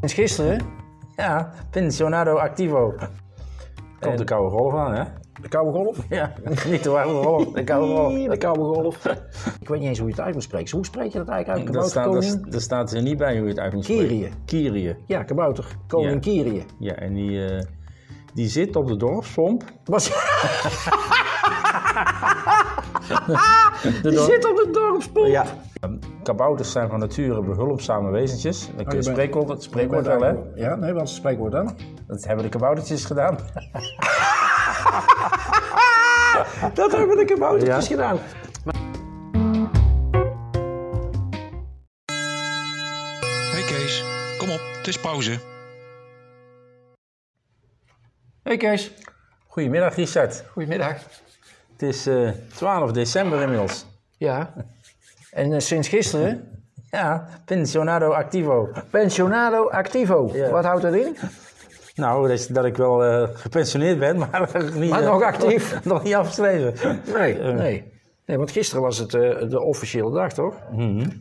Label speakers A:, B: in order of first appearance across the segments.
A: Sinds gisteren, ja, pensionado activo. Komt de koude golf aan, hè?
B: De koude golf?
A: Ja, niet de warme golf, de koude
B: Ii,
A: golf.
B: De koude golf. ik weet niet eens hoe je het uit moet spreken. Hoe spreek je dat eigenlijk uit?
A: Daar staat,
B: Kabouter
A: daar,
B: koning?
A: daar staat er niet bij hoe je het uit moet spreken.
B: Kyrie.
A: Kyrie.
B: Ja, kabouter. Koning
A: Ja.
B: Kyrie.
A: Ja, en die, eh, die zit op de dorpspomp.
B: Was...
A: De
B: Die
A: dorp-
B: zit op de dorpspomp.
A: Ja. Kabouters zijn van nature behulpzame wezentjes. Dat kun Oh, je
B: bent- Ik
A: spreekwoord, dat
B: word
A: spreekwoord wel, hè?
B: Ja, nee, wat is het spreekwoord dan?
A: Dat hebben de kaboutertjes gedaan.
B: Dat hebben de kaboutertjes
A: Ja.
B: gedaan.
C: Hey Kees, kom op, het is pauze.
A: Hey Kees. Goedemiddag, Richard.
B: Goedemiddag.
A: Het is eh, 12 december inmiddels.
B: Ja. En eh, sinds gisteren,
A: Ja, pensionado activo.
B: pensionado activo.
A: Ja.
B: Wat houdt dat in?
A: Nou, dat, is- dat ik wel eh, gepensioneerd ben, maar nog niet,
B: Maar
A: eh,
B: nog actief.
A: nog niet afgeschreven.
B: Nee,
A: Eh.
B: nee. Nee, want gisteren was het eh, de officiële dag, toch? En,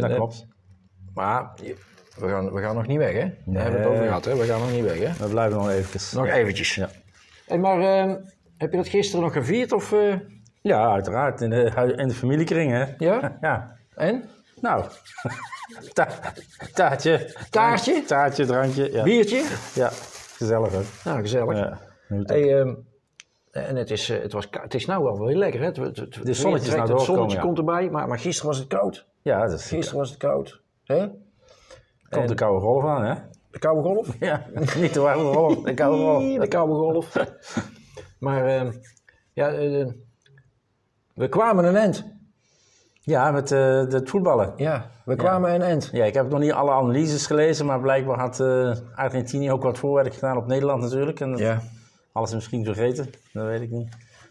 A: dat
B: eh,
A: klopt.
B: Maar we gaan, we gaan nog niet weg, hè? Daar hebben we het over gehad, hè? We gaan nog niet weg, hè?
A: We blijven nog even.
B: Nog eventjes.
A: Ja.
B: Hey, maar ehm, heb je dat gisteren nog gevierd? Of, eh,
A: Ja, uiteraard. In de, hui- in de familiekring, hè?
B: Ja?
A: Ja.
B: en?
A: Nou, Ta- taartje.
B: Taartje?
A: Taartje, drankje. Ja,
B: Biertje?
A: ja. gezellig, hè?
B: Nou, gezellig.
A: Ja.
B: Hey, ehm, en het is, eh, het, was, ko- het is nou wel weer lekker, hè? Het, het, het, het
A: zonnetje is
B: weer
A: nou
B: trekt, het
A: doorgekomen,
B: zonnetje
A: ja.
B: komt erbij, maar, maar gisteren was het koud.
A: Ja, dat is,
B: Gisteren was het koud. Hè?
A: komt de koude golf aan, hè?
B: De koude golf?
A: Ja, niet de warme golf, de koude golf.
B: Ii, De koude golf. maar ehm, ja, eh, we kwamen een end.
A: Ja, met eh het voetballen.
B: Ja, we kwamen een end.
A: Ja, ik heb nog niet alle analyses gelezen, maar blijkbaar had eh, Argentinië ook wat voorwerk gedaan op Nederland natuurlijk. En dat- alles misschien vergeten, dat weet ik niet.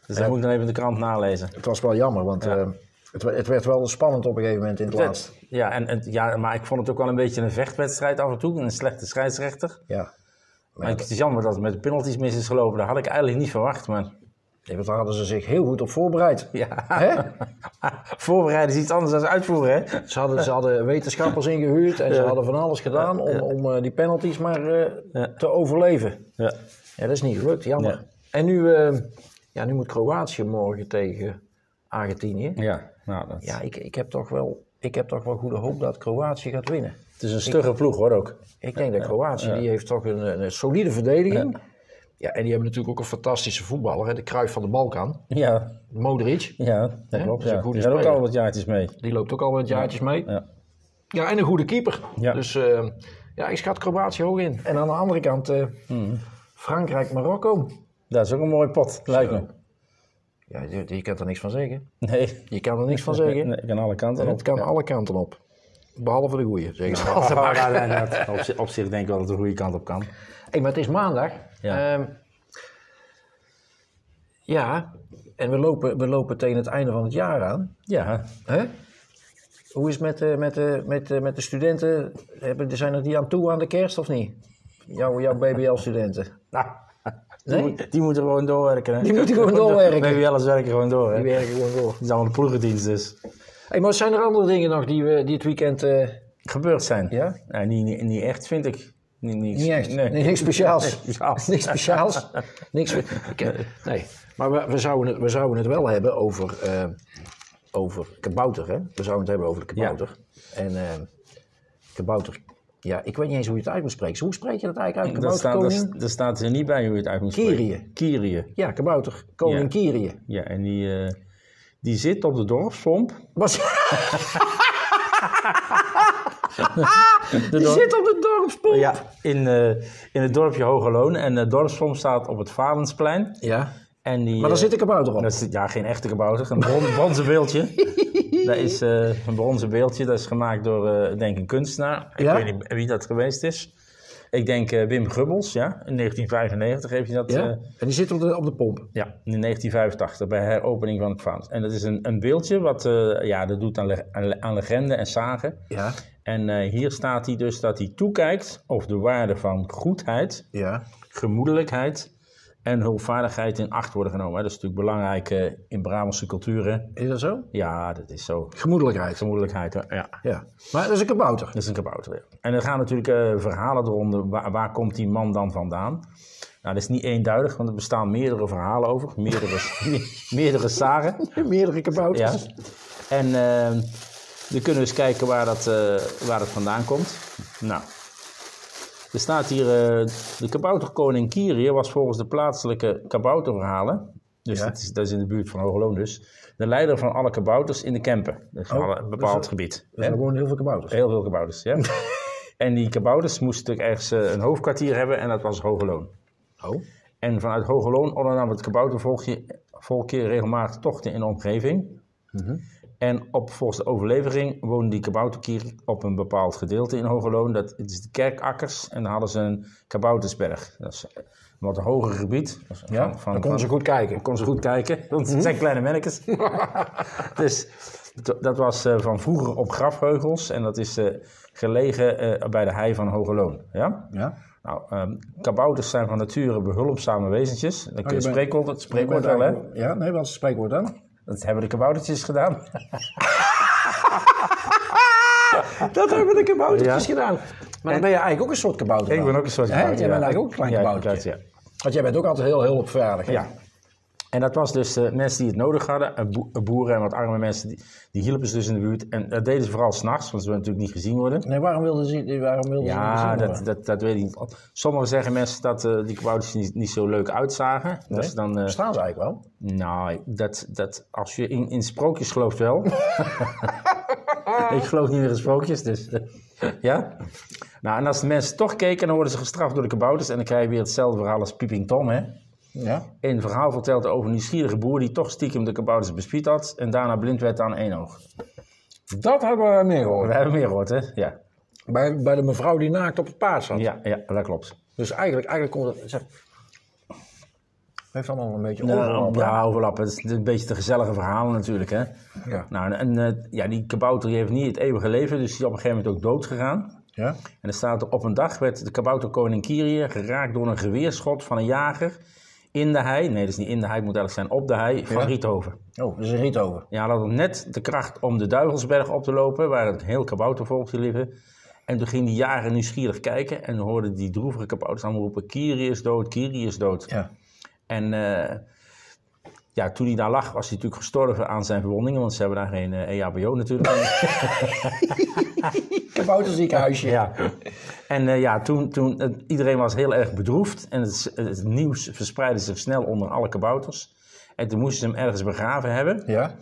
A: Dus dat moet ik dan even in de krant nalezen.
B: Het was wel jammer, want eh, het, we- het werd wel spannend op een gegeven moment in het laatst.
A: Ja, en, en- ja, maar ik vond het ook wel een beetje een vechtwedstrijd af en toe. Een slechte scheidsrechter.
B: Ja.
A: Maar ik- het is jammer dat het met de penalties mis is gelopen. Dat had ik eigenlijk niet verwacht, maar
B: Nee, want daar hadden ze zich heel goed op voorbereid.
A: ja.
B: Hè?
A: Voorbereiden is iets anders dan uitvoeren, hè?
B: Ze, hadden, ze hadden wetenschappers ingehuurd en ze hadden van alles gedaan om, om eh, die penalties maar eh, te overleven.
A: Ja.
B: Ja, dat is niet gelukt, jammer.
A: Nee.
B: En nu, eh, ja, nu moet Kroatië morgen tegen Argentinië.
A: Ja, nou, dat...
B: Ja, ik, ik, heb toch wel, ik heb toch wel goede hoop dat Kroatië gaat winnen.
A: het is een stugge ploeg, hoor, ook.
B: Ik denk dat Kroatië, die heeft toch een, een een solide verdediging. Ja. en die hebben natuurlijk ook een fantastische voetballer, hè, de Kruif van de Balkan.
A: Ja,
B: Modric,
A: ja dat
B: dat
A: klopt.
B: is
A: Ja.
B: een goede
A: Die zijn ook
B: speler.
A: al wat jaartjes mee.
B: die loopt ook al wat jaartjes mee.
A: Ja.
B: Ja, en een goede keeper.
A: Ja.
B: Dus eh, ja, ik schat Kroatië hoog in. En aan de andere kant, eh, Frankrijk-Marokko.
A: Dat is ook een mooi pot, lijkt me.
B: Ja, je, je kan er niks van zeggen.
A: Nee,
B: Je kan er niks van zeggen.
A: nee, ik aan alle kanten.
B: Het kan alle kanten op. Behalve de goeie, zeggen ze altijd maar.
A: Ja, ja, ja. op, zich, op zich denk ik wel dat het de goede kant op kan.
B: Hey, maar het is maandag.
A: Ja.
B: Ehm, ja, en we lopen, we lopen tegen het einde van het jaar aan.
A: Ja,
B: Hè? Hoe is het met, eh, met, eh, met, eh, met de studenten? Hebben, zijn er die aan toe aan de kerst of niet? Jouw, jouw BBL-studenten.
A: nou, die,
B: Nee?
A: moet- die moeten gewoon doorwerken. Hè?
B: Die moeten gewoon doorwerken.
A: Nee, alles werken gewoon door. Hè?
B: Die
A: Het
B: werken gewoon door.
A: is allemaal de ploegendienst dus.
B: Hey, maar zijn er andere dingen nog die we die het weekend... eh,
A: Gebeurd zijn.
B: Ja?
A: Nou, niet, niet, niet echt, vind ik. Niet, niks.
B: niet echt.
A: Nee.
B: Nee, niks speciaals.
A: speciaals.
B: niks speciaals. niks, ik, eh, nee. Maar we, we, zouden het, we zouden het wel hebben over, eh, over kabouter. Hè? We zouden het hebben over de kabouter. En eh, kabouter. Ja, ik weet niet eens hoe je het uit moet spreken. Hoe spreek je dat eigenlijk uit?
A: Daar
B: Kabouter,
A: staat,
B: koning?
A: daar, daar staat er niet bij hoe je het uit moet
B: Kyrie.
A: spreken. Kyrie.
B: Ja, kabouter. Koning
A: Ja.
B: Kyrie.
A: Ja, en die, eh, die zit op de dorpspomp.
B: Was... die
A: dorp-
B: zit op de dorpspomp.
A: Ja. In, eh, in het dorpje Hoge Loon. En de dorpspomp staat op het Valensplein.
B: ja.
A: En die,
B: Maar daar
A: eh,
B: zit een kabouter op.
A: Dat is, ja, geen echte kabouter. Een bron, bronzen beeldje. dat is eh, een bronzen beeldje. Dat is gemaakt door, eh, denk ik, een kunstenaar. Ik
B: Ja?
A: weet niet wie dat geweest is. Ik denk eh, Wim Gubbels, ja. In 1995 heeft hij dat...
B: Ja?
A: eh,
B: en die zit op de, op de pomp.
A: ja, in 1985, bij heropening van het Vaans. En dat is een, een beeldje wat, eh, ja, dat doet aan, le- aan, le- aan legende en zagen.
B: Ja.
A: En eh, hier staat hij dus dat hij toekijkt of de waarde van goedheid,
B: Ja.
A: gemoedelijkheid en hulpvaardigheid in acht worden genomen. Hè. Dat is natuurlijk belangrijk eh, in Brabantse cultuur. Hè.
B: Is dat zo?
A: Ja, dat is zo.
B: Gemoedelijkheid.
A: Gemoedelijkheid, hè. ja.
B: Ja. Maar dat is een kabouter.
A: Dat is een kabouter. ja. En er gaan natuurlijk eh, verhalen eronder. Waar, waar komt die man dan vandaan? Nou, dat is niet eenduidig, want er bestaan meerdere verhalen over. Meerdere, me- meerdere sagen.
B: Meerdere
A: Ja.
B: kabouters.
A: Dus- En ehm, we kunnen eens kijken waar dat, eh, waar dat vandaan komt. Nou, er staat hier... eh, de kabouterkoning Kyrie was volgens de plaatselijke kabouterverhalen... Dus
B: Ja.
A: dat, is, dat is in de buurt van Hoogloon dus... de leider van alle kabouters in de Kempen. Dat is
B: Oh,
A: alle- een bepaald
B: dat is-
A: gebied.
B: Er zijn gewoon heel veel kabouters.
A: Heel veel kabouters, ja. en die kabouters moesten natuurlijk ergens eh, een hoofdkwartier hebben en dat was Hogeloon.
B: Oh.
A: En vanuit Hogeloon ondernam het kaboutervolkje volkje regelmatig tochten in de omgeving. En op, volgens de overlevering woonde die kabouterkerk op een bepaald gedeelte in Hogeloon. Dat het is de kerkakkers en daar hadden ze een kaboutersberg. Dat is een wat hoger gebied. Dat is
B: Ja, dan konden ze goed kijken.
A: ik kon ze goed kijken, want het zijn kleine mannetjes. dus d- dat was eh, van vroeger op grafheugels en dat is eh, gelegen eh, bij de hei van Hogeloon. Ja?
B: Ja.
A: Nou, ehm, kabouters zijn van nature behulpzame wezentjes. Dat kun je
B: Oh, bent-
A: spreekwoord, het spreekwoord wel, hè?
B: Ja, nee, wat is het spreekwoord dan?
A: Dat hebben de kaboutertjes gedaan.
B: Dat hebben de kaboutertjes
A: Ja.
B: gedaan. Maar dan ben je eigenlijk ook een soort kabouter.
A: Ik
B: dan.
A: ben ook een soort
B: Hè?
A: kabouter.
B: Jij
A: ja.
B: bent eigenlijk ook een klein
A: Ja,
B: kaboutertje.
A: inderdaad, ja.
B: Want jij bent ook altijd heel hulpvaardig. hè?
A: Ja. En dat was dus eh, mensen die het nodig hadden, eh, boe- eh, boeren en wat arme mensen, die, die hielpen ze dus in de buurt. En dat deden ze vooral s'nachts, want ze wilden natuurlijk niet gezien worden.
B: Nee, waarom wilden ze, waarom wilden ze niet
A: Ja,
B: gezien
A: dat,
B: worden?
A: dat, dat weet ik niet. Sommigen zeggen mensen dat eh, die kabouters niet, niet zo leuk uitzagen. Dat ze dan, eh,
B: Staan ze eigenlijk wel?
A: nou, dat, dat, als je in, in sprookjes gelooft wel. ik geloof niet meer in sprookjes, dus... ja? Nou, en als de mensen toch keken, dan worden ze gestraft door de kabouters. En dan krijg je weer hetzelfde verhaal als Pieping Tom, hè.
B: Ja.
A: Een verhaal vertelt over een nieuwsgierige boer die toch stiekem de kabouters bespied had. En daarna blind werd aan één oog.
B: Dat hebben we meer
A: We
B: gehoord.
A: hebben meer gehoord, hè? Ja.
B: Bij, bij de mevrouw die naakt op het paard zat.
A: Ja, ja, dat klopt.
B: Dus eigenlijk, eigenlijk komt het... Zeg, heeft allemaal een beetje
A: Nou,
B: overlap. hè?
A: ja, overlappen. Het is een beetje de gezellige verhalen natuurlijk, hè.
B: Ja.
A: Nou, en eh, ja, die kabouter die heeft niet het eeuwige leven, dus die is op een gegeven moment ook dood gegaan.
B: ja.
A: En er staat er, op een dag werd de kabouterkoning Kyrie geraakt door een geweerschot van een jager in de hei. Nee, dat is niet in de hei, het moet eigenlijk zijn op de hei van
B: Ja.
A: Riethoven.
B: Oh, er is een riet over.
A: Ja, hij had nog net de kracht om de Duivelsberg op te lopen, waar het heel kaboutervolkje liggen. En toen ging die jager nieuwsgierig kijken en hoorde die droevige kabouters allemaal roepen, Kyrie is dood, Kyrie is dood.
B: Ja.
A: En eh, ja, toen hij daar lag, was hij natuurlijk gestorven aan zijn verwondingen, want ze hebben daar geen eh, EHBO natuurlijk.
B: Kabouterziekenhuisje.
A: ja. En eh, ja, toen, toen eh, iedereen was heel erg bedroefd en het, het nieuws verspreidde zich snel onder alle kabouters. En toen moesten ze hem ergens begraven hebben,
B: Ja.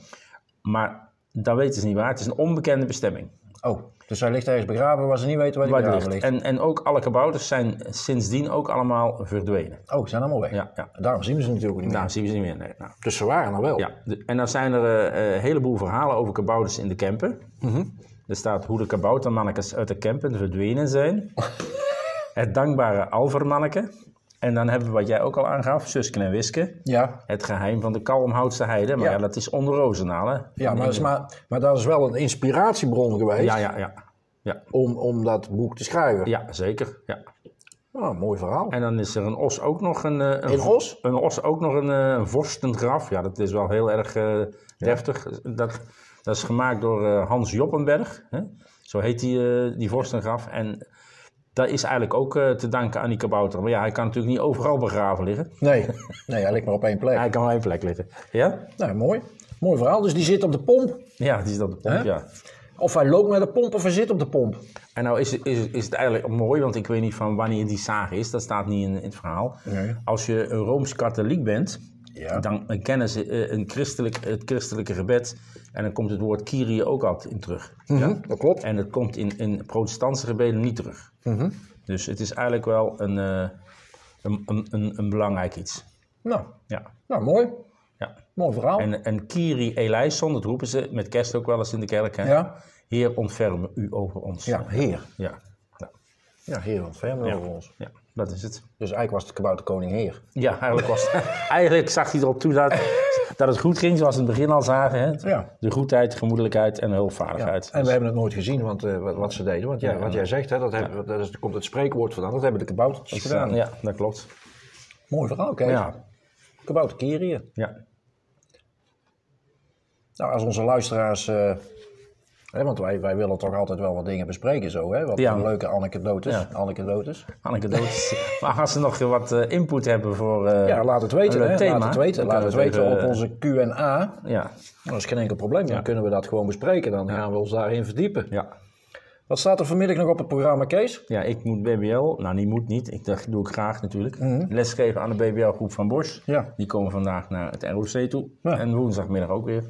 A: maar dat weten ze niet waar. Het is een onbekende bestemming.
B: Oh, dus hij ligt ergens begraven waar ze niet weten waar hij
A: Waar die
B: begraven
A: ligt.
B: ligt.
A: En, en ook alle kabouters zijn sindsdien ook allemaal verdwenen.
B: Oh, ze zijn allemaal weg.
A: Ja, ja.
B: Daarom zien we ze natuurlijk niet meer.
A: Nou, zien we ze niet meer. Nee, nou.
B: Dus ze waren er wel.
A: Ja, de- en dan zijn er eh, eh, een heleboel verhalen over kabouters in de Kempen. Er staat hoe de kaboutermannekes uit de Kempen verdwenen zijn. het dankbare alvermanneke. En dan hebben we wat jij ook al aangaf, Susken en Wiske.
B: Ja,
A: Het geheim van de Kalmhoutse heide. Maar ja,
B: Ja.
A: dat is onder Rozenaal, hè?
B: ja maar, dat is maar, maar dat is wel een inspiratiebron geweest
A: Ja, ja, ja. Ja,
B: Om, om dat boek te schrijven.
A: ja zeker. Ja.
B: Oh, mooi verhaal.
A: En dan is er een os ook nog een... eh, Een,
B: Een
A: vo-
B: os?
A: Een os ook nog een, eh, een vorstengraf. Ja, dat is wel heel erg eh, deftig. Dat, dat is gemaakt door eh, Hans Joppenberg. Hè? Zo heet die, eh, die vorstengraf. En dat is eigenlijk ook eh, te danken aan die kabouter. Maar ja, hij kan natuurlijk niet overal begraven liggen.
B: Nee, nee, hij ligt maar op één plek.
A: Hij kan wel één plek liggen. Ja?
B: Nou, mooi. Mooi verhaal. Dus die zit op de pomp.
A: Ja, die is dat de pomp,
B: Hè?
A: ja.
B: Of hij loopt naar de pomp of hij zit op de pomp.
A: En nou is, is, is het eigenlijk mooi, want ik weet niet van wanneer die sage is. Dat staat niet in, in het verhaal.
B: Nee.
A: Als je een Rooms-katholiek bent,
B: Ja.
A: dan kennen ze eh, een christelijk, het christelijke gebed. En dan komt het woord Kyrie ook altijd in terug.
B: Ja, dat klopt.
A: Mhm. En het komt in, in protestantse gebeden niet terug.
B: Mhm.
A: Dus het is eigenlijk wel een, eh, een, een, een, een belangrijk iets.
B: Nou,
A: Ja.
B: nou mooi.
A: ja.
B: Mooi verhaal.
A: En, en Kyrie eleison, dat roepen ze met kerst ook wel eens in de kerk. Hè?
B: Ja.
A: Heer, ontferm u over ons.
B: Ja, heer.
A: Ja. Ja.
B: Ja, heer van Vermen over ons.
A: ja, dat is het.
B: Dus eigenlijk was de kabouter koning heer.
A: Ja, eigenlijk, was, eigenlijk zag hij erop toe dat, dat het goed ging, zoals we in het begin al zagen. Hè?
B: Ja.
A: De goedheid, gemoedelijkheid en
B: Ja,
A: hulpvaardigheid.
B: En we hebben het nooit gezien want, eh, wat, wat ze deden. Want ja,
A: Ja.
B: wat jij zegt, hè, dat hebben, dat is, daar komt het spreekwoord vandaan. Dat hebben de kabouters
A: Dus,
B: gedaan.
A: eh, Ja, dat klopt.
B: Mooi verhaal, kijk.
A: Ja.
B: Kabouter Kirië.
A: Ja.
B: Nou, als onze luisteraars. eh, hè, want wij, wij willen toch altijd wel wat dingen bespreken, zo hè? Wat
A: Ja.
B: een leuke anekdotes.
A: Ja.
B: anekdotes.
A: Anekdotes. maar als ze nog wat eh, input hebben voor... eh,
B: Ja, laat het weten.
A: een leuk
B: Hè?
A: thema.
B: Laat het weten,
A: Dan
B: laat het
A: kunnen we eh,
B: weten
A: het
B: op
A: even-
B: onze QA.
A: Ja,
B: Dat is geen enkel probleem. Dan kunnen we dat gewoon bespreken. Dan gaan we ons daarin verdiepen.
A: ja.
B: Wat staat er vanmiddag nog op het programma, Kees?
A: ja, ik moet BBL. Nou, niet moet niet. Ik, dat doe ik graag natuurlijk. Lesgeven aan de BBL-groep van Bosch.
B: Mhm. Ja.
A: Die komen vandaag naar het ROC toe.
B: Ja.
A: En woensdagmiddag ook weer.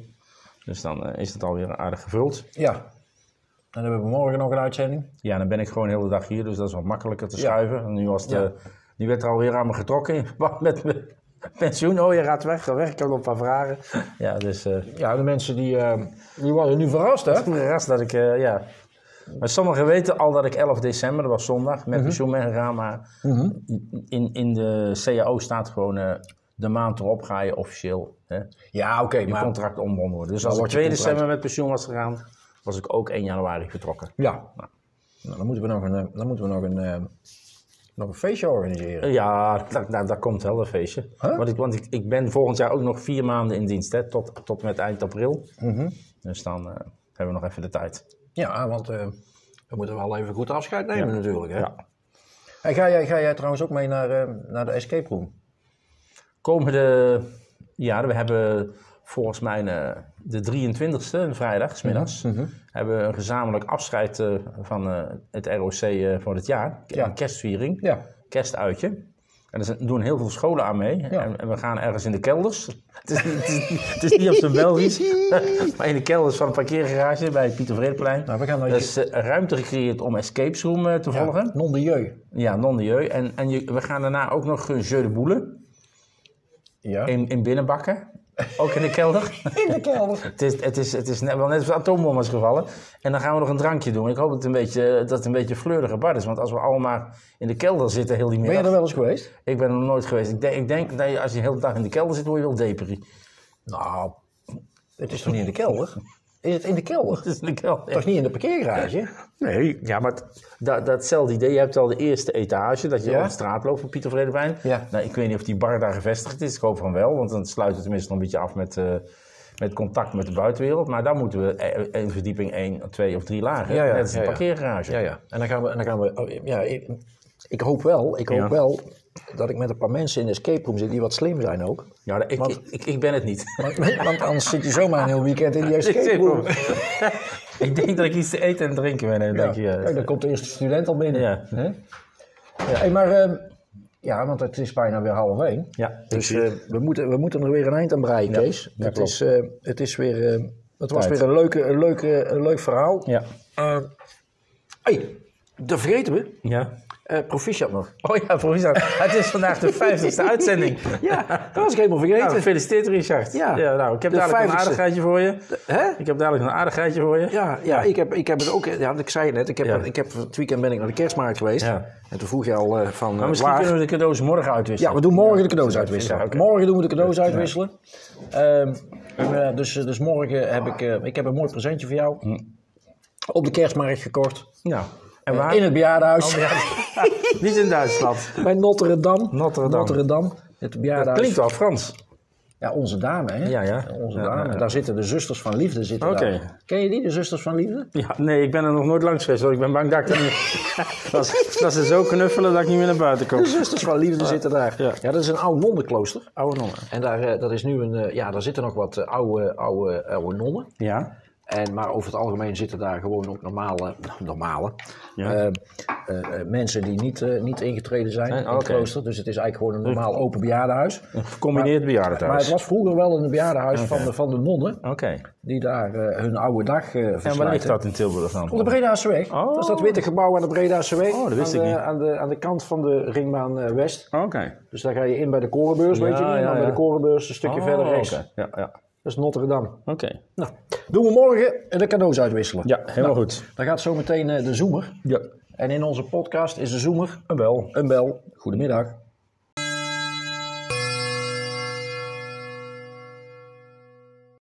A: Dus dan eh, is het alweer aardig gevuld.
B: Ja. Dan hebben we morgen nog een uitzending.
A: Ja, dan ben ik gewoon de hele dag hier, dus dat is wat makkelijker te
B: Ja.
A: schuiven. En nu, was het,
B: Ja.
A: eh, nu werd er alweer aan me getrokken. Wat met mijn pensioen? Oh, je gaat weg, ga weg, ik heb nog een paar vragen. Ja, dus eh,
B: Ja, de mensen die, eh, die waren nu verrast, hè?
A: ik ben verrast dat ik, eh, ja... Maar sommigen weten al dat ik 11 december, dat was zondag, met
B: Mhm.
A: pensioen ben gegaan. Maar in, in de CAO staat gewoon eh, de maand erop ga je officieel hè,
B: Ja, oké,
A: je
B: maar...
A: contract ontbonden worden. Dus als ik
B: wordt je
A: 2
B: contract-
A: december met pensioen was gegaan, was ik ook 1 januari vertrokken.
B: Ja. Nou, dan moeten we nog een, eh, dan moeten we nog een, eh, nog een feestje organiseren.
A: Ja, dat, dat, dat komt wel een feestje.
B: Huh?
A: Want, ik, want ik, ik ben volgend jaar ook nog vier maanden in dienst, hè, tot, tot met eind april. Dus dan eh, hebben we nog even de tijd.
B: Ja, want eh, we moeten wel even goed afscheid nemen
A: Ja.
B: natuurlijk. Hè?
A: Ja.
B: En ga jij, ga jij trouwens ook mee naar, eh, naar de escape room?
A: Komende, ja, we hebben volgens mij eh, de 23e, een vrijdag, 's middags, hebben we een gezamenlijk afscheid eh, van eh, het ROC eh, voor dit jaar.
B: Ja.
A: Een kerstviering,
B: Ja.
A: kerstuitje. En er zijn- doen heel veel scholen aan mee. En, en we gaan ergens in de kelders. Het is, niet- het is, niet- het is niet op zijn Belgisch. maar in de kelders van een parkeergarage bij het Pieter Vreedplein.
B: Nou, we gaan naar
A: er is eh, ruimte gecreëerd om escapes room eh, te volgen.
B: Non de jeu.
A: Ja, non-dieu. En, en je, we gaan daarna ook nog een jeu de boule.
B: Ja.
A: In, in binnenbakken. Ook in de kelder.
B: In de kelder.
A: het, is, het, is, het is net, wel net als atoombom is gevallen. En dan gaan we nog een drankje doen. Ik hoop dat het een beetje, dat het een beetje fleurige bar is. Want als we allemaal in de kelder zitten heel die
B: Ben je
A: middag.
B: er wel eens geweest?
A: Ik ben er nog nooit geweest. Ik denk, ik denk dat je, als je de hele dag in de kelder zit, word je wel deperie.
B: Nou, het is toch niet in de kelder? Is het in de kelder?
A: Het is in de kelder.
B: Toch niet in de parkeergarage?
A: Nee, ja, maar het- dat, datzelfde idee. Je hebt al de eerste etage, dat je
B: Ja.
A: op de straat loopt van Pieter Vredewijn.
B: Ja.
A: Nou, ik weet niet of die bar daar gevestigd is. Ik hoop van wel, want dan sluit het tenminste nog een beetje af met, eh, met contact met de buitenwereld. Maar daar moeten we eh, een verdieping één, twee of drie lagen.
B: Ja, ja,
A: Net als een
B: ja, ja.
A: parkeergarage.
B: Ja, ja. En dan gaan we... En dan gaan we oh, ja, ik, ik hoop wel, ik hoop
A: Ja.
B: wel dat ik met een paar mensen in de escape room zit die wat slim zijn ook.
A: Ja, nou, ik,
B: Want-
A: ik, ik, ik ben het niet.
B: Want, want anders zit je zomaar een heel weekend in die escape room.
A: ik denk dat ik iets te eten en drinken ben.
B: Ja.
A: Denk je,
B: Kijk, dan komt de eerste student al binnen.
A: Ja.
B: Hè? Ja, hey, maar ehm, ja, want het is bijna weer half één.
A: ja,
B: Dus eh, we, moeten, we moeten er weer een eind aan breien, Kees.
A: dat
B: Het
A: klopt.
B: is, eh, het is weer, eh, het was
A: Tijd.
B: weer een, leuke, een, leuke, een leuk verhaal.
A: ja.
B: Eh, hey, dat vergeten we.
A: ja.
B: Eh proficiat nog.
A: Oh ja, voor Richard. Het is vandaag de 50ste uitzending.
B: Ja, dat was ik helemaal vergeten.
A: Nou, gefeliciteerd Richard.
B: Ja.
A: nou, ik heb
B: De
A: dadelijk een
B: 50ste.
A: aardigheidje voor je.
B: hè?
A: Ik heb dadelijk een aardigheidje voor je.
B: Ja, ja ik, heb, ik heb het ook. Ja, ik zei het net. Ik heb,
A: Ja.
B: ik heb, het weekend ben ik naar de kerstmarkt geweest.
A: Ja.
B: En toen vroeg je al eh, van.
A: Maar
B: eh,
A: misschien
B: waar-
A: kunnen we de cadeaus morgen uitwisselen.
B: Ja, we doen morgen de cadeaus uitwisselen.
A: Ja, oké.
B: Morgen doen we de cadeaus uitwisselen. Ehm, en, eh, dus, dus morgen heb ik, eh, ik heb een mooi presentje voor jou. Op de kerstmarkt gekocht.
A: Ja. Hm. En waar? Oh,
B: In het bejaardenhuis.
A: Niet in Duitsland.
B: Bij Notre-Dame.
A: Notre-Dame.
B: Notre-Dame. Het bejaardenhuis.
A: Klinkt wel Frans.
B: Ja, onze dame, hè?
A: Ja, ja.
B: Onze
A: Ja,
B: dame.
A: ja, ja.
B: Daar zitten de zusters van liefde. Zitten
A: Oké.
B: daar. Ken je die, de zusters van liefde?
A: Ja, nee, ik ben er nog nooit langs geweest. hoor. Ik ben bang dat, ik dan niet- dat, ze- dat ze zo knuffelen dat ik niet meer naar buiten kom.
B: De zusters van liefde zitten daar. Ja.
A: Ja.
B: dat is een oud nonnenklooster.
A: Oude nonnen.
B: En daar, eh, dat is nu een, eh, ja, daar zitten nog wat eh, oude, oude, oude nonnen.
A: Ja.
B: En, maar over het algemeen zitten daar gewoon ook normale, nou, normale
A: Ja.
B: eh, eh, eh, mensen die niet, eh, niet ingetreden zijn
A: Zijn-
B: in het
A: oké.
B: klooster. Dus het is eigenlijk gewoon een normaal open bejaardenhuis.
A: Gecombineerd
B: Maar het
A: bejaardenhuis.
B: was vroeger wel een bejaardenhuis van, de, van de nonnen
A: Oké.
B: die daar eh, hun oude dag eh
A: En waar ligt
B: verslijten.
A: dat in Tilburg dan?
B: Op de Bredaanse Weg.
A: Oh.
B: Dat is dat witte gebouw aan de Bredaanse Weg.
A: Oh, dat wist
B: aan
A: ik
B: de,
A: niet.
B: Aan de, aan de kant van de ringbaan eh, West.
A: Oké.
B: Dus daar ga je in bij de Korenbeurs,
A: Ja,
B: weet je niet? En
A: ja,
B: dan bij
A: ja.
B: de Korenbeurs een stukje verder
A: Oh,
B: rechts.
A: oké. Ja, ja.
B: Dat is Notre-Dame.
A: Oké.
B: Nou, doen we morgen de cadeaus uitwisselen.
A: Ja, helemaal goed.
B: Dan gaat zometeen eh, de Zoomer.
A: Ja.
B: En in onze podcast is de Zoomer
A: Een bel.
B: een bel. Goedemiddag.